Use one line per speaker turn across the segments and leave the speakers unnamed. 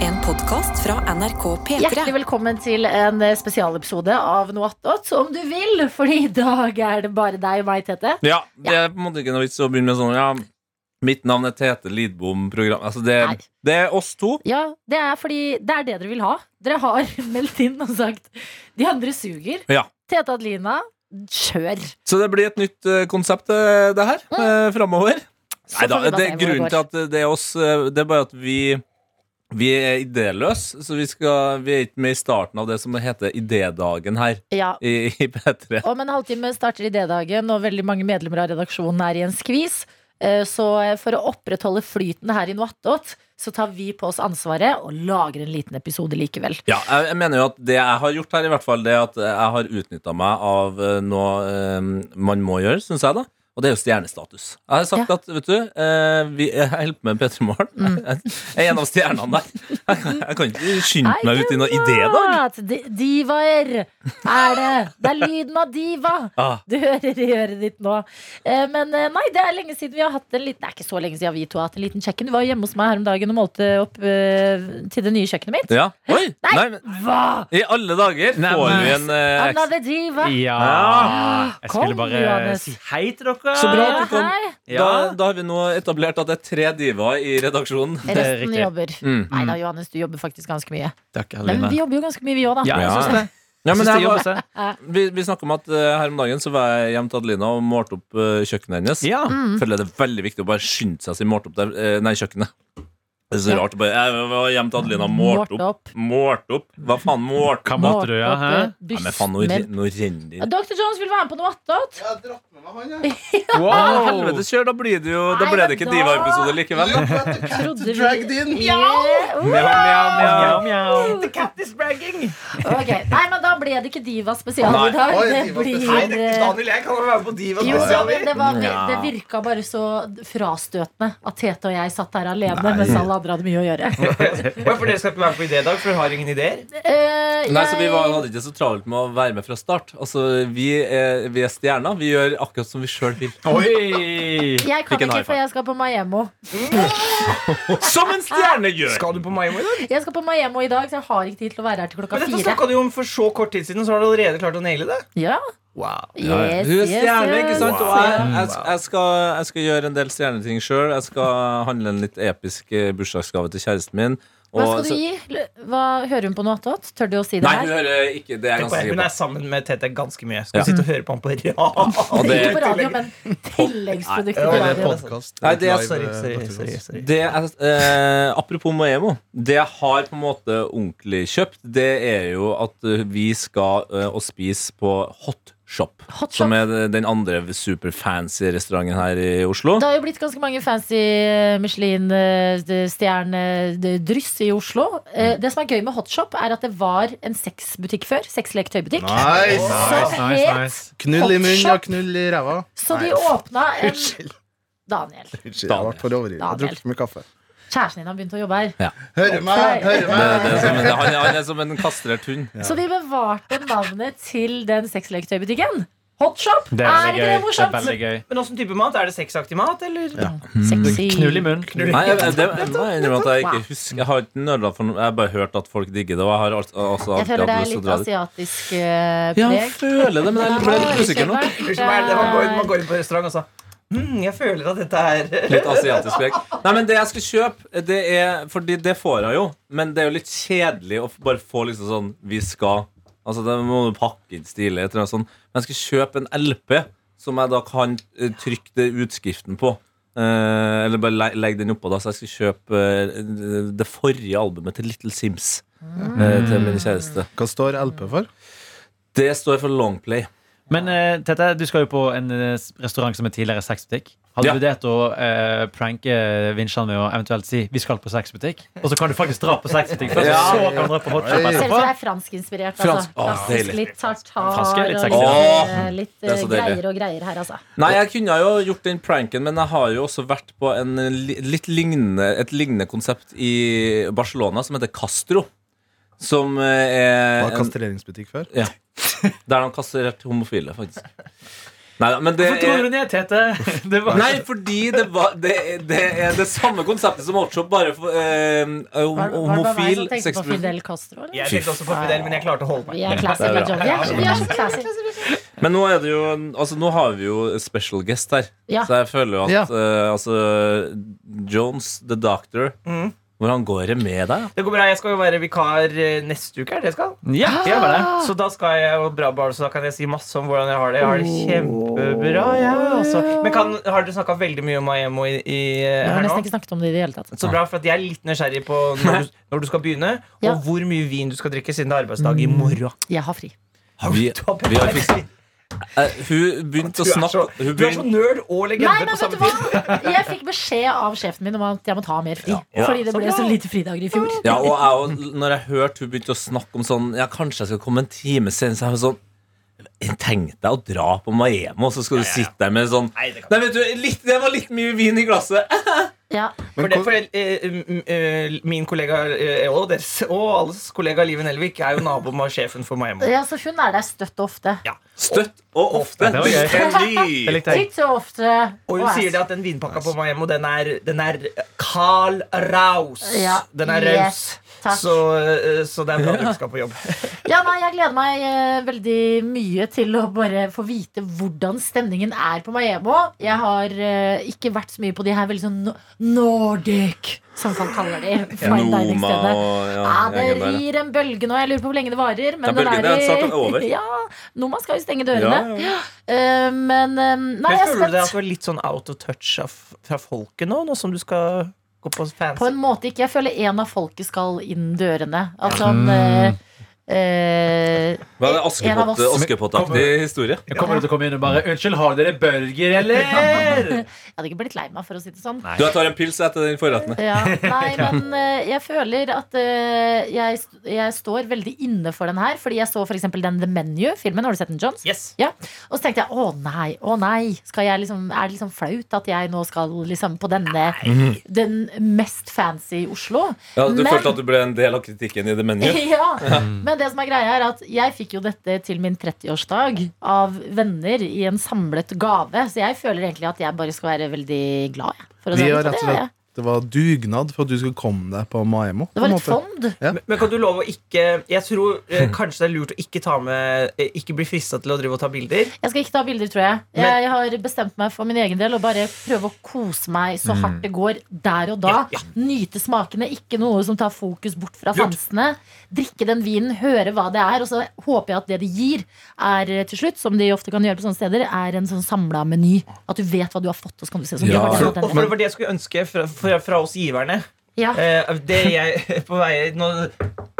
En podkast fra NRK P3.
Hjertelig velkommen til en eh, spesialepisode av Noe attåt, om du vil. For i dag er det bare deg og meg, Tete.
Ja, det er på en måte ikke noe vits å begynne med sånn ja, Mitt navn er Tete Lidbom program altså det,
Nei.
det er oss to
Ja, det er fordi det er det dere vil ha. Dere har meldt inn og sagt de andre suger.
Ja.
Tete Adelina, kjør.
Så det blir et nytt eh, konsept eh, det her eh, Fremover
Mm. Så
Neida,
får vi bare
det
se
er
hvor det
grunnen
går.
til at det er oss eh, Det er bare at vi vi er idéløse, så vi, skal, vi er ikke med i starten av det som heter idédagen her
Ja.
i, i P3.
Om en halvtime starter idédagen, og veldig mange medlemmer av redaksjonen er i en skvis. Eh, Så eh, for å opprettholde flyten her i Noe attåt, så tar vi på oss ansvaret og lager en liten episode likevel.
Ja, jeg, jeg mener jo at det jeg har gjort her, i hvert fall, det er at jeg har utnytta meg av eh, noe eh, man må gjøre, syns jeg, da. Og det er jo stjernestatus. Jeg har sagt
Ja. Mm.
at, vet du, eh, vi, jeg holder på med P3 Morgen. Jeg, jeg er en av stjernene der. Jeg, kan- jeg kan ikke skynde meg ut i noen idé, da.
At di- Divaer er det. Det er lyden av diva.
Ah,
Du hører i øret ditt nå. Eh, Men eh, nei, det er lenge siden vi har hatt en liten Det er ikke så lenge siden vi to har hatt en liten kjøkken. Du var jo hjemme hos meg her om dagen og målte opp eh, til det nye kjøkkenet mitt.
ja. Oi!
Nei.
Nei, men
Hva?
i alle dager
Nei,
får
men-
vi en eh, ekstra
Another diva.
Ja! Jeg skulle
Kom,
bare
Johannes.
si hei til dere.
Så bra
Ja,
at du kom.
Eh, hei.
Ja.
Da, da har vi nå etablert at det er tre divaer i redaksjonen.
er
Resten
riktig.
jobber.
Mm.
Nei da, Johannes, du jobber faktisk ganske mye.
Takk,
Nei, men
Adelina.
vi jobber jo ganske mye, vi òg, da.
Ja, jeg
Ja.
syns det.
Ja, men
Syns det
jeg var,
jobber seg.
vi vi snakka om at eh, her om dagen så var jeg hjemme til Adelina og målte opp eh, kjøkkenet hennes.
Ja.
føler jeg det er veldig viktig å bare skynde seg å si målt opp der, eh, nei, kjøkkenet. Det er så
Ja.
rart. å Bare, jeg var hjemme til Adelina. Målt
Målt
opp. Målt opp. Hva faen målt
Hva
opp?
måtte du, ja?
Målt opp,
Hæ?
eh,
Nei, men faen, nå,
busten.
nå renner det
Ja,
inn.
Dr. Jones vil være med på noe attåt.
Jeg har dratt med meg han, jeg.
Å,
Wow!
Helvete, kjør, da blir det jo Da
Nei,
ble
men
det ikke
da-
Diva-episode likevel.
Jo, for at the cat
Trodde vi-
dragged in.
Yeah.
Mjau, mjau,
Mjau,
mjau.
Ok, Nei, men da ble det ikke Diva spesial
Nei.
i dag.
Oi,
Det
Diva
blir
spesial.
eh,
jeg kan være med på Diva
Jo, jo, men det, var,
Ja.
det virka bare så frastøtende at Tete og jeg satt der alene mens alle andre hadde mye å gjøre.
Hvorfor dere skal ikke være på idédag? For dere har ingen ideer?
Eh,
Nei, så Vi var,
jeg-
hadde ikke så travelt med å være med fra start. Altså, Vi er, vi er stjerner. Vi gjør akkurat som vi sjøl vil.
Oi!
jeg kan
Fikk en
ikke,
high
for
five.
jeg skal på Maiemo.
Som en stjerne gjør!
Skal du på Maimo i dag?
Jeg skal på Maiemo i dag, så jeg har ikke tid til å være her til klokka
Men dette
fire.
snakka du jo om for så kort tid siden, og så har du allerede klart å naile det.
Ja,
Wow
yes, yes,
Du er stjerne, ikke sant? Og jeg,
yes.
jeg, jeg, skal, jeg skal gjøre en del stjerneting sjøl. Jeg skal handle en litt episk eh, bursdagsgave til kjæresten min.
Hva skal
så-
du gi? Hva, hører hun på noe attåt? Tør du å si det
Nei, hun
her?
hører ikke det. er jeg ganske
Hun er
sikker
sammen med Tete ganske mye. Skal
Ja.
du sitte og høre på ham på rad?
Og
Ikke
det-
på radio, men tilleggsprodukter
Nei,
på
det
radio.
er
Podcast.
Nei, det er-
Live,
Sorry,
eh,
sorry,
podcast.
sorry, sorry.
på det er, eh, Apropos Maemo. Det jeg har på en måte ordentlig kjøpt, det er jo at eh, vi skal eh, og spise på Hot Shop.
Hot Shop.
Som er det- den andre superfancy restauranten her i Oslo.
Det har jo blitt ganske mange fancy eh, Michelin-stjernedryss eh, i Oslo. Eh, Det som er gøy med Hotshop, er at det var en sexbutikk før. Sexleketøybutikk.
Nice!
Nice, nice, nice.
Knull i munnen
Hotshot.
og knull i ræva.
Så de
Nei,
åpna en
Unnskyld.
Daniel.
Unnskyld, jeg ble for overilt. Jeg har
Daniel.
drukket for mye kaffe.
Kjæresten din har begynt å jobbe her.
Hører meg, hører
Det,
meg.
det er som, det, han, han er som en kastrert hund.
Så de bevarte navnet til den sexleketøybutikken. Hotshop!
Det er
er
veldig
ikke det
gøy. Det er
morsomt?
veldig gøy.
Men åssen type mat? Er det sexaktig mat, eller?
Sexy.
Knull i munnen.
Nei, jeg, det, jeg må innrømme at jeg ikke husker Jeg har ikke nødla for noe. Jeg har bare hørt at folk digger det. Og jeg har altså, altså
Jeg
alltid
føler det
hatt
er
lyst til å
litt
dra dit.
asiatisk eh,
Ja,
preg.
jeg føler det, men jeg ble litt usikker nå.
Unnskyld meg, er det det man går, man går inn på restaurant og så Hm, jeg føler at dette er
Litt asiatisk preg. Nei, men det jeg skal kjøpe, det er Fordi det får jeg jo, men det er jo litt kjedelig å f- bare få liksom sånn Vi skal Altså, det må du pakke inn stilig etter og sånn. Men jeg skal kjøpe en LP som jeg da kan eh, trykke det utskriften på. Eh, eller bare le legge den oppå, da. Så jeg skal kjøpe eh, det forrige albumet til Little Sims. eh, til min kjæreste.
Hva står LP for?
Det står for Longplay.
Men eh, Tete, du skal jo på en eh, restaurant som er tidligere sexbutikk. Har du
Ja.
vurdert å eh, pranke Vinsjan med å eventuelt si 'vi skal på sexbutikk'? Og så kan du faktisk dra på sexbutikk først,
Ja.
og så kan du dra på hotshop
Oi.
Ser ut
etterpå.
som det er franskinspirert. Altså.
Fransk. Å,
Fransk,
deilig.
litt tartar
Fransk er litt sexy,
og litt,
da.
eh, litt
Det er
eh,
så deilig.
greier og greier her, altså.
Nei, jeg kunne jo gjort den pranken, men jeg har jo også vært på en li- litt lignende, et lignende konsept i Barcelona som heter Castro. Som eh, er
Var
en,
kastreringsbutikk før?
Der de kastrerte homofile, faktisk. Neida, men det
Hvorfor toner
er
du ned, Tete? Det var
Nei, fordi det, var, det, er- det er det samme konseptet som Ocho, bare for, eh, hom-
Var, var det bare meg
homofil
som tenkte på
sexprofil.
Fidel Castro? Eller?
Jeg tenkte også på Fidel, men jeg klarte å holde meg.
Vi er classic med Johnny. Vi er så- Vi er så classic.
Men nå er det jo Altså, nå har vi jo special guest her.
Ja.
Så jeg føler jo at
Ja.
eh, altså, Jones, the doctor
Mm.
Hvordan går det med deg?
Det går bra, Jeg skal jo være vikar eh, neste uke. er det jeg skal
Ja, jeg var det.
Så da skal jeg jo bra barn, så da kan jeg si masse om hvordan jeg har det. Jeg har det kjempebra. Ja, altså. Men kan, har dere snakka veldig mye om Maemo i, i eh,
Vi har
her
nesten
nå?
ikke snakket om det i det hele tatt.
Så bra, for at jeg er litt nysgjerrig på når du, når du skal begynne, og
Ja. Mm.
hvor mye vin du skal drikke siden det er arbeidsdag i morgen.
Jeg har fri.
Vi,
Topp.
vi har fiksa Eh, Hun begynte å
Du er
snakke
så-
Hun
Du er så
begynte
nerd
Nei,
og legende
men
på
vet
samme
du
tid.
hva? Jeg fikk beskjed av sjefen min om at jeg må ta mer fri.
Ja.
Fordi det
Så
ble så
bra.
lite fridager i fjor.
ja, og jeg, og når jeg hørte hun begynte å snakke om sånn Ja, kanskje jeg skal komme en time senere, så jeg var sånn Tenk deg å dra på Maemo, så skal du sitte der med sånn
Nei, det kan
Nei, vet du, litt, det var litt mye vin i glasset. Eh,
Ja.
Men
For det,
hvor-
for, eh, m- eh, min kollega eh, og deres og alles kollega Liven Elvik er jo nabo med sjefen for Maemo.
ja, så hun er der støtt og ofte.
Støtt og ofte.
Det var gøy.
Stanley.
Det likte jeg.
Titt og ofte.
Og hun sier det at den vinpakka på Maemo, den er, den er Carl Raus.
Ja.
Den er raus.
Yes. Takk.
Så, eh, så det er bra du skal på jobb.
Ja, nei, jeg gleder meg eh, veldig mye til å bare få vite hvordan stemningen er på Maemo. Jeg har eh, ikke vært så mye på de her veldig sånn no- Nordic, som folk kaller de. Fine
Noma
dining-stedene.
og ja,
Ja, Ah, det
gjengen der.
rir en bølge nå. Jeg lurer på hvor lenge det varer. Men
Ja, bølgen
den er
er
i-
snart over.
Ja, Noma skal jo stenge dørene. Eh, men eh, nei,
Men
jeg er
føler du deg
spent.
at du er litt sånn out of touch av, fra folket nå, nå som du skal gå på
På
fancy?
en måte ikke. Jeg føler en av folket skal inn dørene. At sånn
Mm.
eh, eh,
Hva er det
En av
Askepott,
oss.
Askepott-aktig historie?
Jeg kommer til å komme inn og bare Unnskyld, har dere burger, eller?
Jeg hadde ikke blitt lei meg, for å si det sånn.
Nei.
Du jeg tar en pils etter den forretten.
Ja, nei, men eh, jeg føler at eh, jeg, st- jeg står veldig inne for den her. Fordi jeg så f.eks. den The Menu-filmen. Har du sett den, Jones?
Yes.
Ja. Og så tenkte jeg å nei, å nei. Skal jeg liksom, er det liksom flaut at jeg nå skal liksom på denne Den mest fancy i Oslo?
Ja, du
Men-
følte at du ble en del av kritikken i det menyet?
Ja, Men det som er greia er at jeg fikk jo dette til min 30-årsdag av venner i en samlet gave. Så jeg føler egentlig at jeg bare skal være veldig glad. jeg, For å
Vi
si det.
har
Så
rett og
det er jeg.
slett Det var dugnad for at du skulle komme deg på Maemo.
det var litt fond.
Men kan du love å ikke Jeg tror eh, kanskje det er lurt å ikke ta med eh, Ikke bli frista til å drive og ta bilder.
Jeg skal ikke ta bilder, tror jeg.
Men-
Jeg har bestemt meg for min egen del og bare prøve å kose meg så hardt det går der og da.
Mm. Ja, ja.
Nyte smakene, ikke noe som tar fokus bort fra
Lurt.
sansene. Drikke den vinen, høre hva det er, og så håper jeg at det det gir, er eh, til slutt, som de ofte kan gjøre på sånne steder, er en sånn samla meny. At du vet hva du har fått, og så kan du se sånn.
Ja.
du har fått
Og
den
for det var det jeg skulle ønske fra, fra, fra oss giverne.
Ja.
Eh, det jeg på vei nå,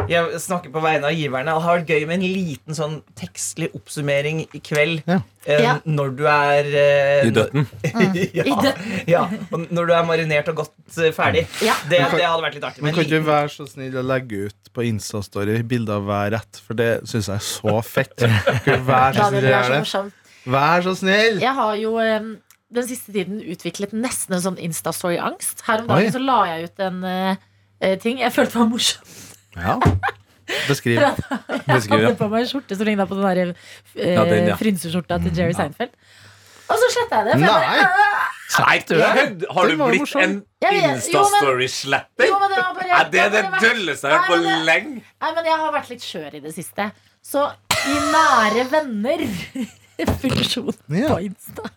Jeg snakker på vegne av giverne. Det har vært gøy med en liten sånn tekstlig oppsummering i kveld.
Ja.
eh,
Ja. Mm.
Når du er eh,
I døtten.
ja,
I
ja, og når du er marinert og godt eh, ferdig.
Ja.
Det, det hadde vært litt artig.
Men
Men
kan du
liten,
være så snill å legge ut på Insta-story bilder av hver rett? For det syns jeg er så fett. Kan du Vær så
Daniel,
snill.
du er
gjør
så
det.
morsom.
Vær så snill!
Jeg har jo eh, den siste tiden utviklet nesten en sånn Insta-story-angst. Her om
Oi.
dagen så la jeg ut en eh, eh, ting jeg følte var morsom.
Ja. Beskriv.
Jeg
Beskriv, ja.
hadde på meg en skjorte som ligna på den der eh,
Ja, den, ja.
frynseskjorta til Jerry Seinfeld. Og så sletta jeg det. For jeg bare,
Nei!
Seigt, du er. Har
Den
du
var
blitt
morsom.
en
Jeg vet-
Insta-story-sletter?
Jo, men det var bare-
Er det det
det var-
dølleste jeg har
Nei,
hørt på
men
lenge?
Nei, men jeg har vært litt skjør i det siste. Så i nære venner funksjon
Ja.
på Insta.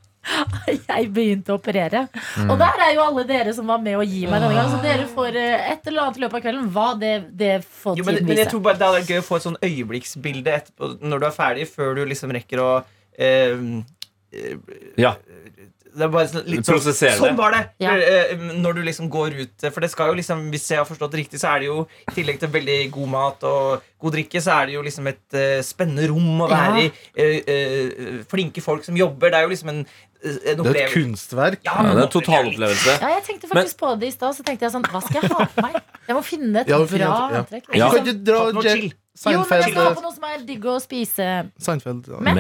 Jeg begynte å operere. Og der er jo alle dere som var med å gi meg denne gangen. Så dere får eh, et eller annet i løpet av kvelden. Hva det, det får
jo, men,
tiden
men jeg
vise.
tror bare det hadde vært gøy å få et sånn øyeblikksbilde etterpå, når du er ferdig, før du liksom rekker å eh, eh,
Ja.
Det er bare sånn, litt sånn,
Prosessere det.
sånn var det!
Ja.
Eh, Når du liksom går ut For det skal jo liksom, hvis jeg har forstått det riktig, så er det jo i tillegg til veldig god mat og god drikke, så er det jo liksom et eh, spennende rom å
Ja.
være i. Eh, eh, flinke folk som jobber. Det er jo liksom en, en
Det er et
opplevelse.
kunstverk.
Ja,
Ja, det
men
er en
nå føler jeg litt-
totalopplevelse.
Ja, jeg tenkte faktisk på det i stad. Så tenkte jeg sånn, hva skal jeg ha på meg? Jeg må finne et
Ja,
bra
du finner et- ja.
antrekk. sånn
Ja.
Kan du dra
Nå
Jer-
sånn chill.
Jo, men jeg skal ha
Seinfeld
på noe som er digg å spise.
Seinfeld. ja.
Men-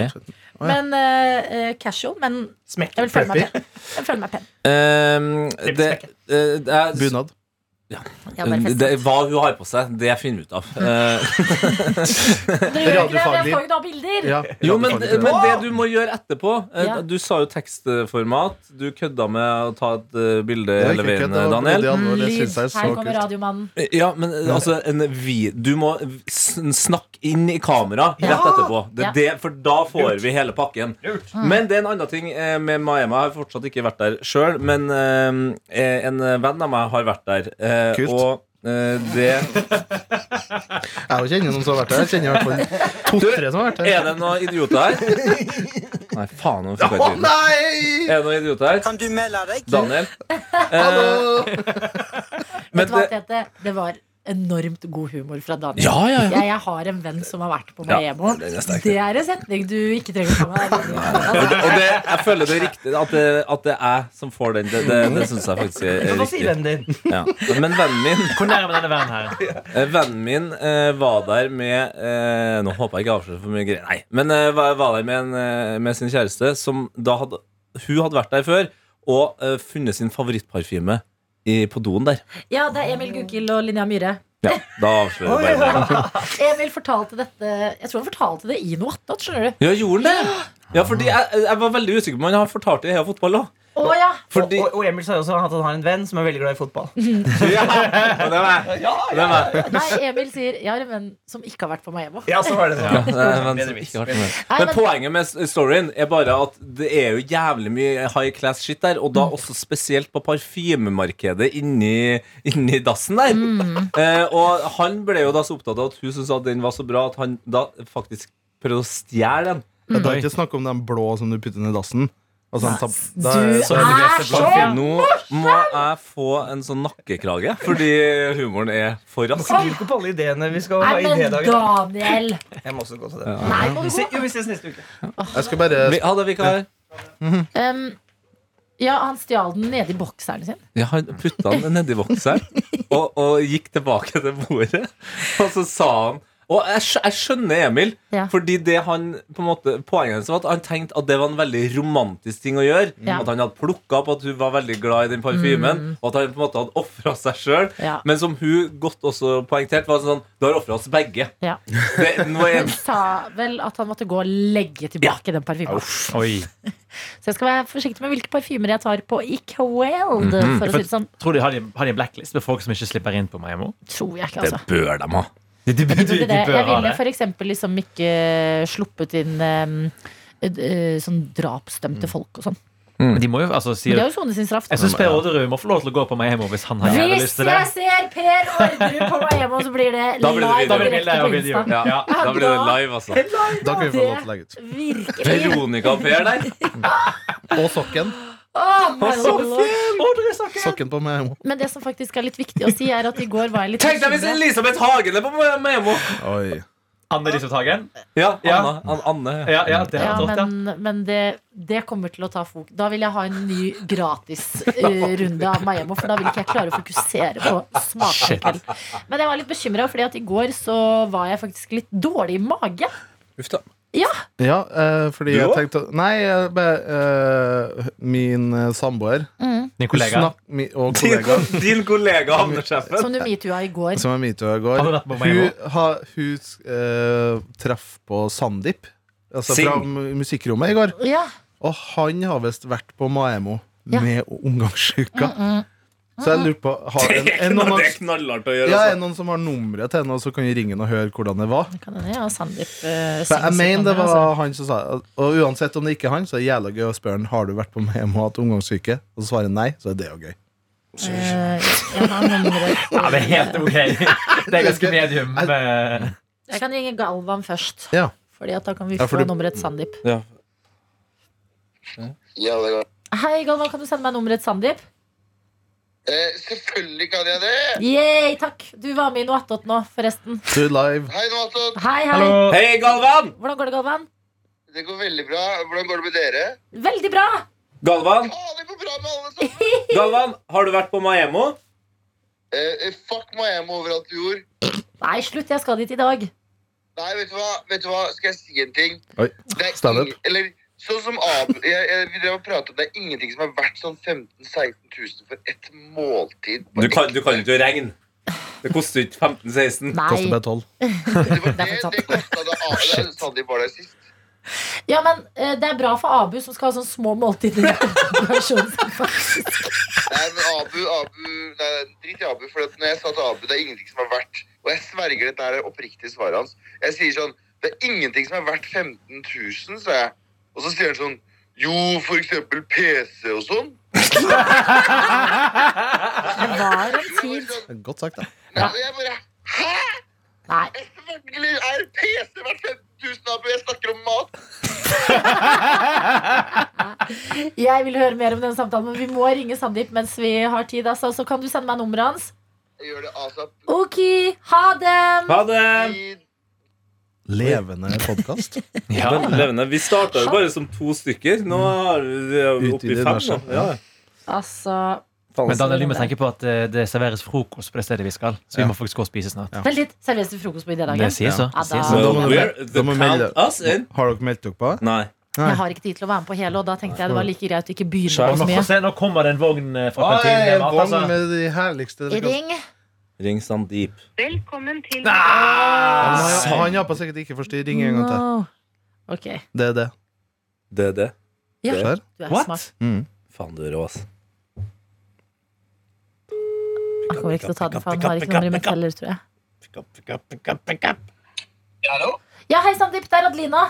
Å, ja.
Men eh, eh, casual. Men
Smekk.
jeg vil føle meg pen. Jeg føler meg pen.
Ehm, det, eh, det er-
Bunad.
Ja,
Mm,
bare fest.
Det, hva hun har på seg, det finner vi ut av. Eh,
Dere gjør ikke det, men jeg
Radiofaglig.
får jo da bilder!
Ja,
jo, men,
radiofaglig til det.
men det du må gjøre etterpå eh,
Ja.
Du sa jo tekstformat. Du kødda med å ta et eh, bilde
Det er
hele
ikke
veien,
kødd, det var
Daniel.
blodig alvor, det
Lyd.
synes jeg er
Her
så
kommer
kult.
radiomannen.
Ja, men eh, altså en vi, Du må s- snakke inn i kamera
Ja.
rett etterpå. Det,
Ja. Mm.
er det, for da får vi hele pakken. Men det er en annen ting eh, med Maema. Jeg har fortsatt ikke vært der sjøl, men eh, en venn av meg har vært der. eh,
Kult.
Og eh, det
Jeg har jo kjenner noen som har vært der. Jeg kjenner i hvert fall to-tre som har vært
Er
der.
det noen idioter her? Nei, faen. Nå fikk jeg
Å
ikke lyden.
nei!
Er det noen idioter her?
Kan du melde deg?
Daniel. Eh,
Hallo!
men
Vet du hva,
det,
Tete? Det var enormt god humor fra Daniel.
ja, ja, ja.
Jeg, jeg har en venn som har vært på
Ja,
Maemo.
den er sterk, den.
det er en setning du ikke trenger å ta med deg.
Og, det, og det, jeg føler det er riktig at det, at det er jeg som får den. Det, det, det syns jeg faktisk er, er
Hva
riktig.
sier vennen din?
Ja. Men vennen min
Hvor nærme denne vennen her?
eh, Vennen min eh, var der med eh, Nå håper jeg ikke jeg avslører for mye greier. Nei, Men eh, var, var der med, en, eh, med sin kjæreste, som da hadde Hun hadde vært der før og eh, funnet sin favorittparfyme i, på doen der.
Ja, det er Emil Gukild og Linnea Myhre.
Ja, da avslører jeg bare det.
Emil fortalte dette Jeg tror han fortalte det i noe attåt, skjønner du.
Ja, gjorde han det? Ja, fordi jeg, jeg var veldig usikker på om han har fortalt det i Heia Fotball òg.
Å ja!
Og,
Fordi
og- og Emil sa jo også at han har en venn som er veldig glad i fotball.
Ja, det var jeg. Det var jeg.
Nei, Emil sier 'jeg har en venn som ikke har vært på Maemo'.
Ja, så var det sånn.
Ja, det er en venn som ikke har vært med.
Nei,
Men
men-
poenget med s- storyen er bare at det er jo jævlig mye high class shit der, og da også spesielt på parfymemarkedet inni, inni dassen der. Eh, og han ble jo da så opptatt av at hun syntes at den var så bra at han da faktisk prøvde å stjele den.
Mm.
Ja, Da er det ikke snakk om den blå som du putter ned i dassen. Altså, en tab- da
Du
så-
er så
Nå må jeg få en sånn nakkeklage, fordi humoren er for rask.
Sier du ikke på alle ideene vi skal ha
Nei,
i
men
idédagen?
Daniel!
Jeg må også gå til det.
Nei, må
Vi
du
ses-
gå?
Jo, vi ses neste uke.
Jeg skal bare
Vi- Ha det, vikar.
Um, ja, han stjal den nede i bokseren sin.
Ja, han putta den nedi bokseren og, og gikk tilbake til bordet. Og så sa han Og jeg, skj- jeg skjønner Emil,
Ja.
fordi det han på en måte, poenget hans var at han tenkte at det var en veldig romantisk ting å gjøre.
Ja. Mm.
At han hadde plukka opp at hun var veldig glad i den parfymen, og at han på en måte hadde ofra seg sjøl.
Ja.
Men som hun godt også poengterte, var sånn Du har ofra oss begge.
Ja.
Det, nå er
Han sa vel at han måtte gå og legge tilbake den parfymen.
Oi.
Så jeg skal være forsiktig med hvilke parfymer jeg tar på i kveld. For å si det sånn.
Tror de har, de, har de en blacklist med folk som ikke slipper inn på Maemo?
Tror jeg ikke,
Det
altså.
bør de ha.
De, de, de,
Jeg
de,
Tror det. Jeg
bør ha
ville
det.
f.eks. liksom ikke sluppet inn em, et, eh, sånn drapsdømte folk og sånn.
Men De må jo, altså,
Men
sier
De har jo sonet sin straff. da.
Jeg syns Per Orderud må få lov til å gå på Maemo hvis han har jævlig
Hvis
lyst til det.
jeg ser Per Orderud på Miami, så blir det
Da blir det
live
video.
Da blir det
direkte på
bilde og video.
Insta.
Ja, da blir det live, altså.
Da kan vi få lov til å legge ut.
Virkelig.
Veronica og Per der.
Og sokken.
Å, my lord.
Sokken på meg.
Men det som faktisk er litt viktig å si, er at i går var jeg litt
Tenk deg hvis
bekymret.
Elisabeth Hagen er på Memo!
Oi.
Anne Elisabeth Hagen?
Ja,
Ja.
Anna, An Anne ja.
Ja, ja, det er
Ja,
helt rått, ja.
men, men det, det kommer til å ta fok Da vil jeg ha en ny gratisrunde av Maemo, for da vil ikke jeg klare å fokusere på smaksforskjell. Men jeg var litt bekymra, fordi at i går så var jeg faktisk litt dårlig i mage.
Uff da.
Ja, eh, fordi
Du
jeg
også?
tenkte å- Nei, jeg bare, eh, min eh, samboer
Din kollega.
Snakk- mi- og
Din,
kollega
din kollega havnesjefen.
Som du metoo-a i går.
som er metoo i går
Har du vært på Maemo?
Hun, har- hun eh, traff på Sandeep, altså
Sing.
fra mu- musikkrommet i går.
Ja,
Og han har visst vært på Maemo
Ja. Mm,
med omgangssyka. Så jeg lurer på har en, er, noen,
Det er
av-
knallhardt å gjøre.
ja, er
Altså.
noen som har nummeret til henne, og så kan vi ringe henne og høre hvordan det var?
det kan hende. Ja, Sandeep. eh,
For jeg
synger
mener det
sikkert, altså.
var han som sa Og uansett om det ikke er han, så er det jævla gøy å spørre han, Har du vært på Maemo og hatt omgangssyke. Og så svarer han nei, så er det jo gøy.
Eh, jeg har nummeret.
Ja, det er helt ok. Det er ganske medium. eh,
Jeg kan ringe Galvan først.
Ja.
Fordi at da kan vi
Ja, for
få
du-
nummeret til Sandeep.
Ja.
Ja, det er godt.
Hei, Galvan, kan du sende meg nummeret til Sandeep?
Eh, selvfølgelig kan jeg det!
Yay, takk! Du var med i noe attåt nå, forresten.
Du live.
Hei, altså. Nato.
Hei, hei.
Hallo!
Hei, Galvan!
Hvordan går det, Galvan?
Det går veldig bra. Hvordan går det med dere?
Veldig bra!
Galvan,
Ah, det går bra med alle sammen!
Galvan, har du vært på Maemo?
Eh, eh, fuck Miami overalt i jord.
Nei, slutt, jeg skal dit i dag.
Nei, vet du hva? Vet du hva? Skal jeg si en ting?
Oi.
Det er
Stand up.
ing- Eller Sånn som Ab jeg, jeg, vi drev og pratet, Det er ingenting som er verdt sånn 15 000-16 000 for et måltid. på
Du kan,
ekte.
du kan ikke regne. Det koster ikke 15-16.
Nei.
Koster bare 12.
Det, var
Det er
det,
fortsatt.
det kosta det Ab det sa de var der sist.
Ja, men eh, det er bra for Abu, som skal ha sånne små måltider. Faktisk.
Nei, men Abu, Abu Nei, drit i Abu. For at når jeg sa til Abu det er ingenting som er verdt Og jeg sverger dette her er oppriktig svaret hans. Jeg sier sånn Det er ingenting som er verdt 15 000, sa jeg. Og så sier han sånn Jo, for eksempel PC og sånn.
Det var en
Jeg bare
tid.
sånn,
Godt sagt, da.
nei, og jeg bare Hæ?!
Nei.
Selvfølgelig er PC verdt 15 000, Abu. Jeg snakker om mat.
Jeg vil høre mer om den samtalen, men vi må ringe Sandeep mens vi har tid. Altså. Så kan du sende meg nummeret hans.
Jeg gjør det altså. asap.
Ok, ha det!
Ha det!
I
Levende podkast.
Ja, levende. Vi starta jo bare som to stykker. Nå er vi oppe i
Mm. Utvidet
fem.
universet.
nå. Ja.
Altså,
Men Daniel, vi må tenke på at eh, det serveres frokost på det stedet vi skal. Så vi må faktisk gå og spise snart.
vent litt. Serveres det frokost på
Det
idédagen?
sier så.
Ja,
Det sier
da-
Men
Well,
da må du-
we're the
da må du melde
count
deg.
us in.
Har dere meldt dere på?
Nei.
Nei.
Jeg har ikke tid til å være med på hele, og da tenkte jeg det var like greit å ikke begynne
så.
på så
Nå,
mye.
får se, nå kommer det en vogn eh, fra
Oi,
kantinen. med mat,
vogn
altså.
med de herligste delikat-
Ring.
Ring Sandeep.
Velkommen til
Han har- Han jobba sikkert ikke for styr. Ring en gang til.
No. Ok.
Det er det.
Det er det.
Ja,
Det-
Ser?
du er
What?
smart.
Mm.
Faen, du er rå, ass.
Jeg kommer ikke til å ta den, for han har ikke nummeret mitt heller, tror jeg.
Hallo?
Ja, hei Sandeep, det er Adelina.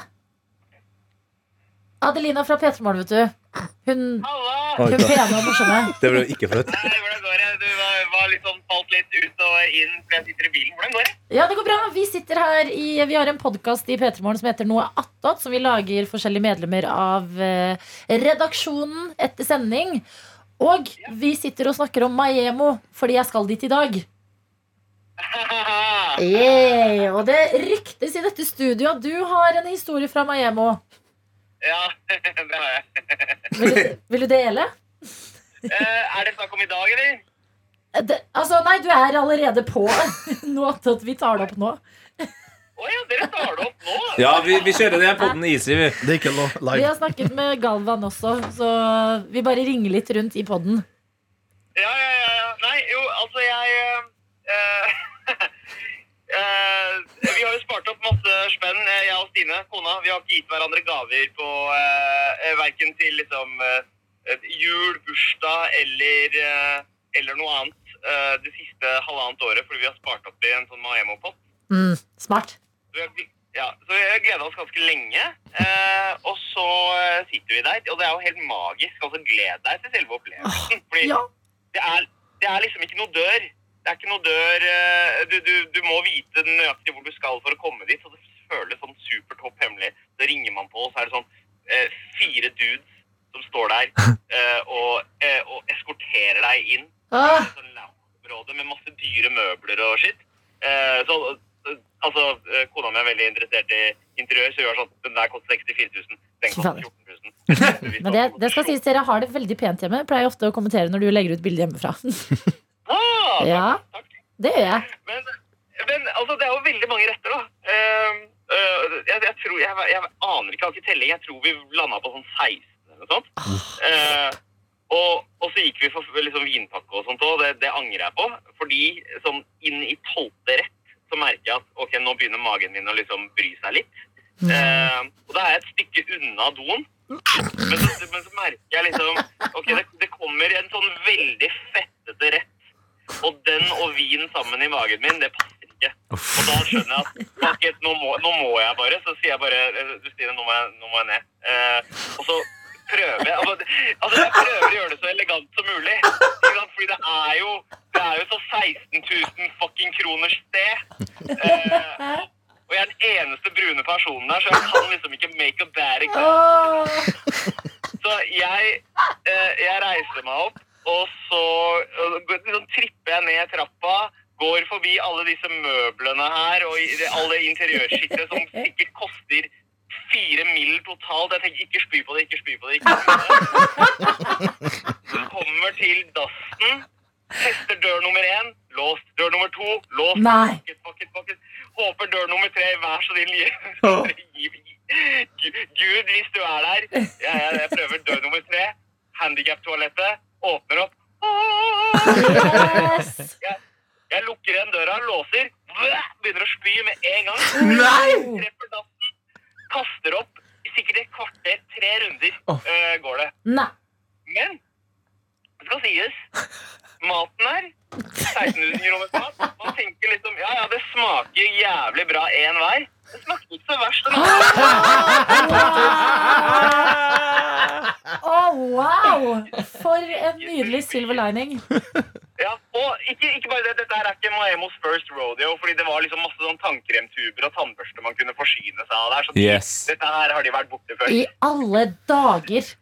Adelina fra P3morgen, vet du. Hun,
Halla!
Oi,
hun
da.
pene og morsomme.
Det ble jo ikke flaut.
Nei, hvordan går det? Du var, var litt sånn, falt litt ut og inn fordi jeg sitter i bilen. Hvordan går det?
Ja, det går bra. Vi sitter her i Vi har en podkast i P3morgen som heter Noe attåt, som vi lager forskjellige medlemmer av eh, redaksjonen etter sending. Og vi sitter og snakker om Maiemo, fordi jeg skal dit i dag. Yeah. Og det ryktes i dette studioet at du har en historie fra Maiemo.
ja, det har jeg.
Vil, du- vil du dele?
Eh, er det snakk om i dag, eller?
det, altså, nei, du er allerede på nå at vi tar det opp nå.
Å ja, dere tar det opp nå?
Ja, vi, vi kjører den podden easy, vi.
Det er ikke lov.
Vi
Live.
har snakket med Galvan også, så vi bare ringer litt rundt i poden.
Ja, ja, ja. ja. Nei, jo, altså jeg eh, eh, Vi har jo spart opp masse spenn, eh, jeg og Stine, kona. Vi har ikke gitt hverandre gaver på uh, verken til liksom eh, et jul, bursdag eller, eh, eller noe annet eh, det siste halvannet året, fordi vi har spart opp i en sånn Maemo-pott.
Mm, smart.
Så vi har, ja, så vi har gleda oss ganske lenge. Eh, og så eh, sitter vi der, og det er jo helt magisk. Altså, gled deg til selve opplevelsen. Fordi
Ja.
det, er, det er liksom ikke noe dør. Det er ikke noe dør eh, du, du, du må vite nøyaktig hvor du skal for å komme dit. Så det føles sånn supertopp hemmelig. Så ringer man på, og så er det sånn eh, fire dudes som står der eh, og, eh, og eskorterer deg inn
Ah,
sånn loungeområde med masse dyre møbler og skitt. Eh, så, eh, altså, eh, kona mi er veldig interessert i interiør, så hun er sånn Den der koster 64 000. Den koster 14 000.
men det, det skal sies, dere har det veldig pent hjemme. Jeg pleier ofte å kommentere når du legger ut bilder hjemmefra.
Ah, takk,
Ja.
takk.
Det gjør jeg.
Men, men altså, det er jo veldig mange retter, da. Ehm, øh, jeg, jeg tror jeg, jeg aner ikke, jeg har ikke telling. Jeg tror vi landa på sånn 16 eller noe sånt. Eh, og, og så gikk vi for liksom, vinpakke og sånt òg. Det, det angrer jeg på. Fordi sånn inn i tolvte rett så merker jeg at ok, nå begynner magen min å liksom bry seg litt. Eh, og da er jeg et stykke unna doen. Men så, men så merker jeg liksom Ok, det, det kommer en sånn veldig fettete rett. Og den og vin sammen i magen min, det passer ikke. Og da skjønner jeg at fuck it, nå, må, nå må jeg bare. Så sier jeg bare eh, Du Stine, nå må jeg, nå må jeg ned. Eh, og så prøver jeg altså, altså, jeg prøver å gjøre det så elegant som mulig. Ikke sant? Fordi det er jo Det er jo så 16 000 fucking kroners sted. Eh, og jeg er den eneste brune personen der, så jeg kan liksom ikke make a bad example.
Åh,
Så jeg, eh, jeg reiser meg opp, og så eh, går- liksom, tripper jeg ned trappa. Går forbi alle disse møblene her og i- det- alle interiørskittet som sikkert koster fire mill. totalt. Jeg tenker ikke spy på det, ikke spy på det. ikke spy på det. Så Kommer til dassen, tester dør nummer én, låst. Dør nummer to, låst.
Nei.
Fuck it, fuck it, fuck it. Håper dør nummer tre, vær så snill, gi- gi- gi- Gu- Gud, hvis du er der. Jeg, jeg, jeg prøver dør nummer tre. Handicap-toalettet. Åpner opp.
Yes!
Jeg lukker igjen døra, låser. Begynner å spy med en gang. Treffer dassen. Kaster opp. Sikkert et kvarter, tre runder eh, går det.
Nei.
Men det skal sies, maten her 1600 kroner mat. Man tenker liksom ja, ja, det smaker jævlig bra én vei. Det smakte ikke så verst. Den andre.
Å, wow! For en nydelig silver lining.
Ja, og ikke, ikke bare det, dette her er ikke Maemos first rodeo, fordi det var liksom masse sånn tannkremtuber og tannbørste man kunne forsyne seg av der. Så de,
Yes.
dette her har de vært borte før.
I alle dager.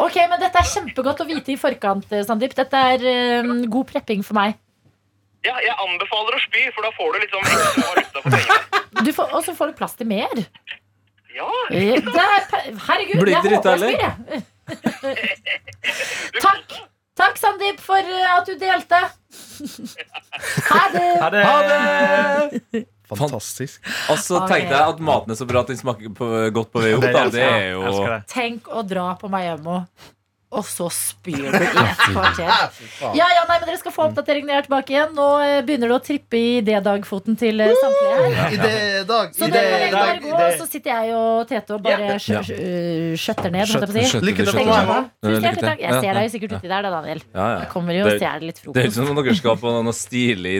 Ok, men Dette er kjempegodt å vite i forkant, eh, Sandeep. Dette er eh, god prepping for meg.
Ja, jeg anbefaler å spy, for da får du liksom ekstra valuta for pengene.
Du får, og så får du plass til mer.
Ja,
Eh, Det er, per- herregud,
Blir
jeg
det dritt,
håper jeg spyr, jeg. Takk. Takk, Sandeep, for eh, at du delte. Ha det.
Ha det!
Fantastisk.
Og så
Ok.
tenkte jeg at maten er så bra at den smaker på, godt på vei opp. Da. Det er
Jeg
jo
elsker det.
Tenk å dra på Miami og så spyr du i et kvarter. Ja, ja, nei, men Dere skal få oppdatering når jeg er tilbake igjen. Nå eh, begynner det å trippe i D-dagfoten til eh, samtlige her.
I det dag.
Så
I
dere kan
det
egentlig bare
dag.
gå, og så sitter jeg og Tete og bare skjø-
Ja.
skjø- øh, skjøtter ned. holdt jeg på å si.
Skjøtter,
Lykke til på
skjøtter.
Tusen
Miami.
Lykke
hjertelig
til.
takk. Jeg ser
Ja,
deg jo sikkert uti der, da, Daniel.
ja,
Jeg
ja.
kommer jo og
Det-
stjeler litt
Det er ikke sånn
frokost.
som om dere skal på noe stilig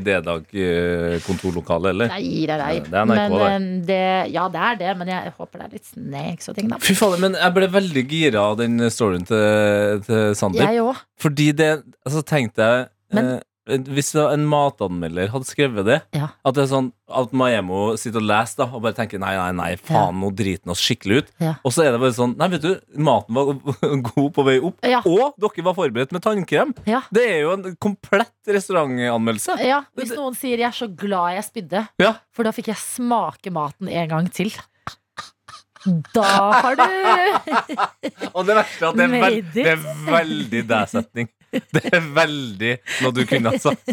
D-dag-kontorlokale, eller?
Nei, nei, nei.
Det er
Men
NRK, det.
eh, det, ja, det er det, men jeg håper det er litt snacks og ting, da.
Fy faen, men jeg ble veldig gira av den storyen til, til Sandeep.
Jeg òg.
Fordi det Altså, tenkte jeg
Men-
eh, Hvis da en matanmelder hadde skrevet det,
Ja.
at det er sånn at Maemo sitter og leser da, og bare tenker nei, nei, nei, faen, nå driter han oss skikkelig ut.
Ja.
Og så er det bare sånn Nei, vet du, maten var god på vei opp,
Ja.
og dere var forberedt med tannkrem.
Ah. Ja.
Det er jo en komplett restaurantanmeldelse.
ja. Hvis noen sier 'jeg er så glad jeg spydde',
Ja.
for da fikk jeg smake maten en gang til. Da har du
Og det verste er at det er, vel-
Made it.
det er veldig deg-setning. Det er veldig noe du kunne ha sagt.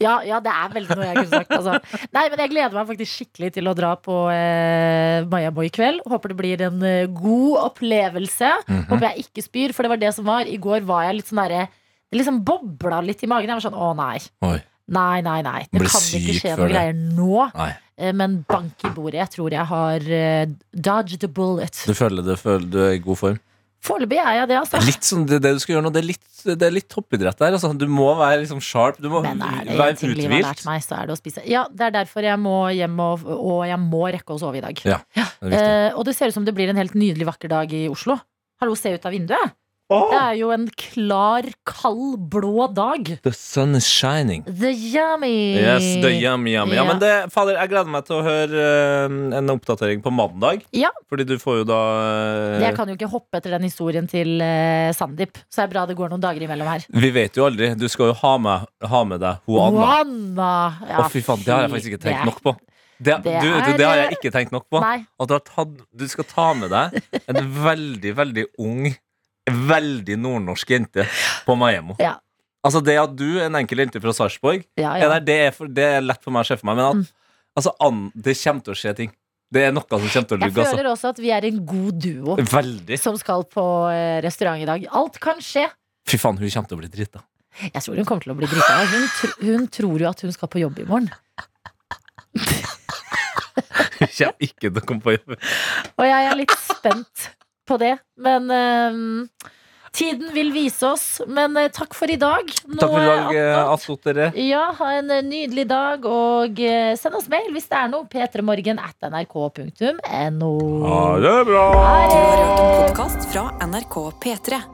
Ja, ja, det er veldig noe jeg kunne sagt. Altså. Nei, men jeg gleder meg faktisk skikkelig til å dra på eh, Miami i kveld. Håper det blir en eh, god opplevelse.
Mhm.
Håper jeg ikke spyr, for det var det som var. I går var jeg litt sånn derre Det liksom bobla litt i magen. Jeg var sånn å nei.
Oi.
Nei, nei, nei. Det
Blir
kan ikke
syk
skje
før
noen
det.
greier nå.
Nei.
Eh, Men bank i bordet. Jeg tror jeg har eh, dodged a bullet.
Du føler, det, føler du er i god form?
Foreløpig er jeg det, altså.
Litt sånn, det, det du skal gjøre nå, det er litt, det er litt toppidrett der. Altså. Du må være liksom sharp. Du må
Men er det
være
en ting livet har
uthvilt.
lært meg, så er det å spise. Ja, det er derfor jeg må hjem og, og jeg må rekke å sove i dag.
Ja, det er viktig.
Eh, og det ser ut som det blir en helt nydelig vakker dag i Oslo. Hallo, se ut av vinduet. Det er jo en klar, kald, blå dag.
The sun is shining.
The yummy.
Yes, the yum, yum. Ja,
Ja.
men det, fader, jeg gleder meg til å høre eh, en oppdatering på mandag.
Ja.
Fordi du får jo da eh,
Jeg kan jo ikke hoppe etter den historien til eh, Sandeep, så det er bra det går noen dager imellom her.
Vi vet jo aldri. Du skal jo ha med, ha med deg Juana.
Juana.
Å,
Ja,
fy faen, det har jeg faktisk ikke tenkt nok på. Det,
det
du, vet
er-
du, det har jeg ikke tenkt nok på.
Nei.
At du, har tatt, du skal ta med deg en veldig, veldig ung, veldig nordnorsk jente på Maemmo.
Ja.
Altså det at du, en enkel jente fra Sarpsborg,
Ja, Mm.
er
ja.
der, det, er for- det er lett for meg å se for meg. Men at, altså, an, det kommer til å skje ting. Det er noe som kommer til å
Jeg
lugge. Altså.
føler også at vi er en god duo
Veldig.
som skal på eh, restaurant i dag. Alt kan skje.
Fy faen, hun kommer til å bli drita.
Jeg tror hun kommer til å bli drita. Hun, tr- hun tror jo at hun skal på jobb i morgen.
Hun kommer ikke til å komme på jobb.
Og jeg er litt spent på det. Men øhm, tiden vil vise oss. Men øh, takk for i dag. Nå
Takk for i dag,
er
eh,
18.
Asot, dere.
Ja, ha en øh, nydelig dag, og øh, send oss mail hvis det er noe. P3morgen at nrk.no.
Ha det bra!
Du har hørt en podkast fra NRK P3.